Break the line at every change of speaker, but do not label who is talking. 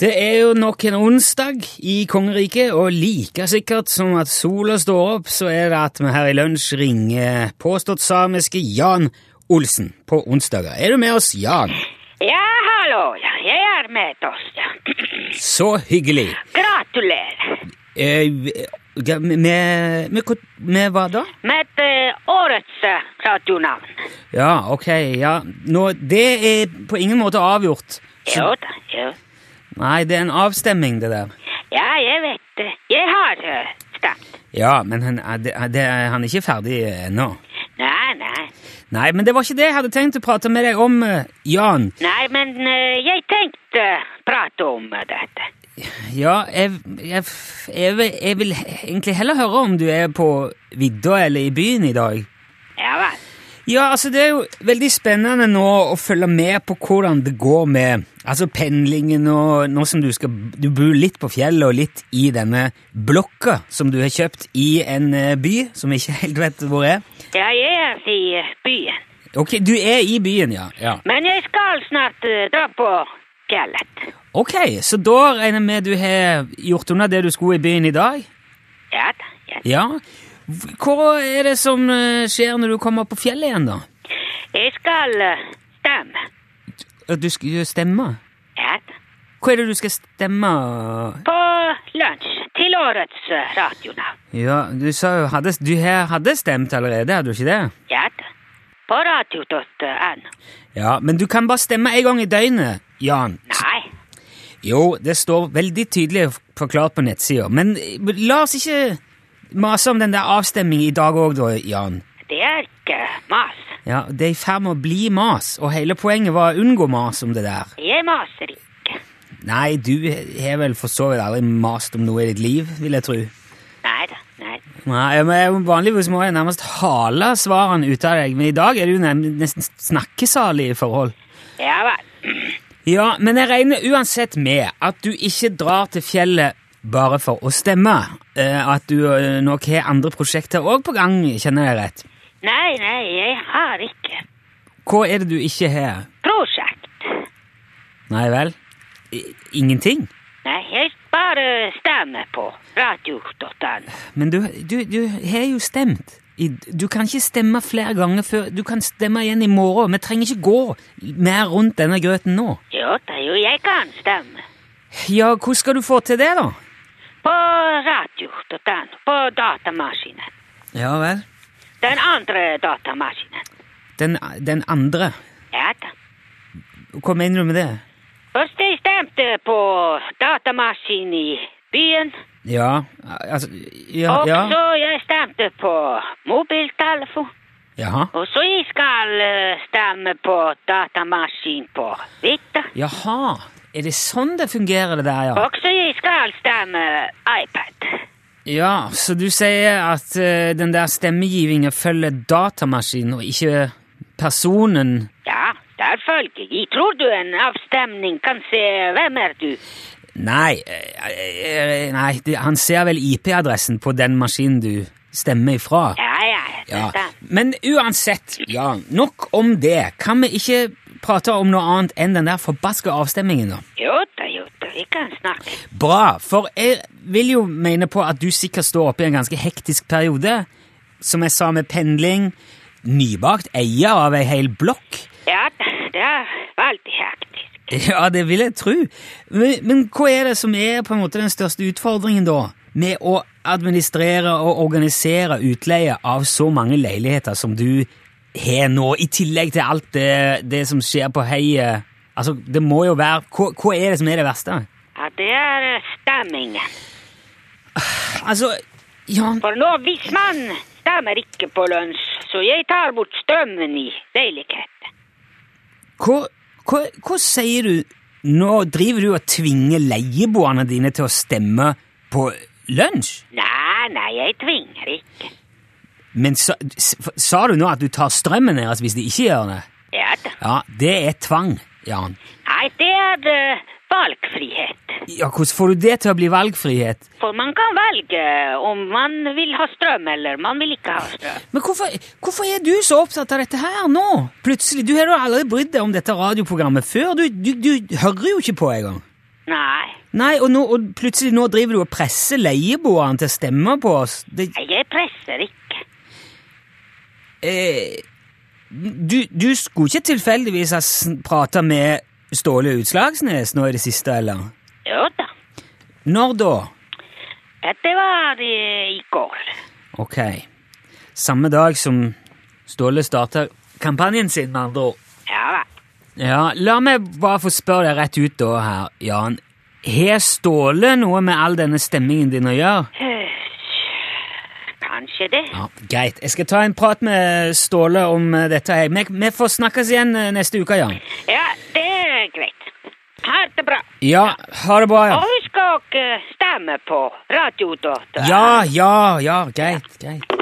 Det er jo nok en onsdag i kongeriket, og like sikkert som at sola står opp, så er det at vi her i lunsj ringer påstått samiske Jan Olsen på onsdager. Er du med oss, Jan?
Ja, hallo, ja. Jeg er med oss, ja.
Så hyggelig.
Gratulerer
Eh, ja, med, med, hva- med hva da?
med eh, årets eh, radionavn.
Ja, ok, ja. Nå, det er på ingen måte avgjort.
Jo da, jo.
Nei, det er en avstemming, det der.
Ja, jeg vet det. Jeg har eh, stemt.
Ja, men han, er det, er det, han er ikke ferdig ennå.
Nei, nei.
Nei, men det var ikke det jeg hadde tenkt å prate med deg om, eh, Jan.
Nei, men eh, jeg tenkte prate om eh, dette.
Ja, jeg, jeg, jeg, vil- jeg vil egentlig heller høre om du er på vidda eller i byen i dag.
Ja vel.
Ja, altså det er jo veldig spennende nå å følge med på hvordan det går med altså pendlingen og nå som du skal Du bor litt på fjellet og litt i denne blokka som du har kjøpt i en eh, by som jeg ikke helt vet hvor er.
Ja, jeg er i eh, byen.
Ok, du er i byen, ja. ja.
Men jeg skal snart eh, dra på fjellet.
Ok, så da regner jeg med du har gjort unna det du skulle i byen i dag?
Ja da, ja.
Ja. Hva er det som eh, skjer når du kommer på fjellet igjen, da?
Jeg skal eh, stemme.
At du skal stemme?
Ja da.
Hva er det du skal stemme
På lunsj til årets eh, radionavn.
Ja, du sa jo hadde, Du her hadde stemt allerede, hadde du ikke det?
Ja da. På radio.no.
Ja, men du kan bare stemme én gang i døgnet, Jan.
Nei.
Jo, det står veldig tydelig forklart på nettsida, men eh, la oss ikke mase om den der avstemningen i dag òg, da, Jan.
Det er ikke mas.
Ja, Det er i ferd med å bli mas, og hele poenget var å unngå mas om det der.
Jeg maser ikke.
Nei, du har vel for så vidt aldri mast om noe i ditt liv, vil jeg tro.
Nei da. Nei.
Nei, men Vanligvis må jeg nærmest hale svarene ut av deg, men i dag er du nem- nesten snakkesalig i forhold.
Ja vel.
Ja, men jeg regner uansett med at du ikke drar til fjellet bare for å stemme. Eh, At du eh, nok har andre prosjekter òg på gang, kjenner jeg rett.
Nei, nei, jeg har ikke
Hva er det du ikke har?
prosjekt.
Nei vel? I, ingenting?
Nei, jeg bare stemmer på radio.no.
Men du, du, du har jo stemt. I, du kan ikke stemme flere ganger før Du kan stemme igjen i morgen. Vi trenger ikke gå mer rundt denne grøten nå.
Jo da, jo, jeg kan stemme.
Ja, hvordan skal du få til det, da?
På radio.no. På datamaskinen.
Ja vel.
Den andre datamaskinen.
Den, den andre.
Ja da.
Hva mener du med det?
Først jeg stemte på datamaskin i byen,
Ja, altså Ja.
og
ja.
så jeg stemte på mobiltelefon.
Jaha.
Og så jeg skal eh, stemme på datamaskin på Vita.
Jaha. Er det sånn det fungerer, det der, ja?
Og så jeg skal stemme iPad.
Ja, Så du sier at eh, den der stemmegivingen følger datamaskinen og ikke personen?
Ja, selvfølgelig. Jeg tror du en avstemning kan se hvem er du?
Nei, eh, eh, nei det, han ser vel IP-adressen på den maskinen du stemmer ifra.
Ja, ja.
Ja,
dette.
Men uansett, ja, nok om det. Kan vi ikke prate om noe annet enn den der forbaska avstemmingen, da?
Jo da, jo da. Vi kan snakke.
Bra, for jeg vil jo mene på at du sikkert står oppe i en ganske hektisk periode. Som jeg sa, med pendling, nybakt eier av ei hel blokk.
Ja, det er veldig hektisk.
Ja, det vil jeg tro. Men, men hva er det som er på en måte den største utfordringen, da? Med å administrere og organisere utleie av så mange leiligheter som du har nå, i tillegg til alt det, det som skjer på heiet. Altså, det må jo være hva, hva er det som er det verste?
Ja, det er eh, stemmingen.
Altså, Jan
For nå, hvis man stemmer ikke på lunsj, så jeg tar bort strømmen i leiligheten.
hva, hva, hva sier du? Nå driver du og tvinger leieboerne dine til å stemme på lunsj?
Nei, nei, jeg tvinger ikke.
Men sa, s- sa du nå at du tar strømmen deres hvis de ikke gjør det?
Ja da.
Ja, det er tvang, Jan.
Nei, det er eh, valgfrihet.
Ja, Hvordan får du det til å bli valgfrihet?
For man kan velge om man vil ha strøm eller man vil ikke ha strøm.
Men hvorfor, hvorfor er du så opptatt av dette her nå? Plutselig, Du har jo aldri brydd deg om dette radioprogrammet før. Du, du, du hører jo ikke på engang.
Nei,
Nei, og, nå, og plutselig nå driver du og presser leieboerne til å stemme på oss. Det,
Nei, jeg presser ikke.
eh, du, du skulle ikke tilfeldigvis ha sn- prata med Ståle Utslagsnes nå i det siste, eller?
Jo da.
Når da?
Dette var i, i går.
Ok. Samme dag som Ståle starter kampanjen sin, med andre ord.
Ja da.
Ja, la meg bare få spørre deg rett ut da her, Jan. Har Ståle noe med all denne stemmingen din å gjøre?
Kanskje det.
Ja, Greit. Jeg skal ta en prat med Ståle om eh, dette. her. Vi, vi får snakkes igjen eh, neste uke, Jan.
Ja, det er greit. Ha det bra.
Ja, ha det bra,
Og
Jan.
husk å eh, stemme på Radio Dota.
Ja, ja, ja, greit, greit.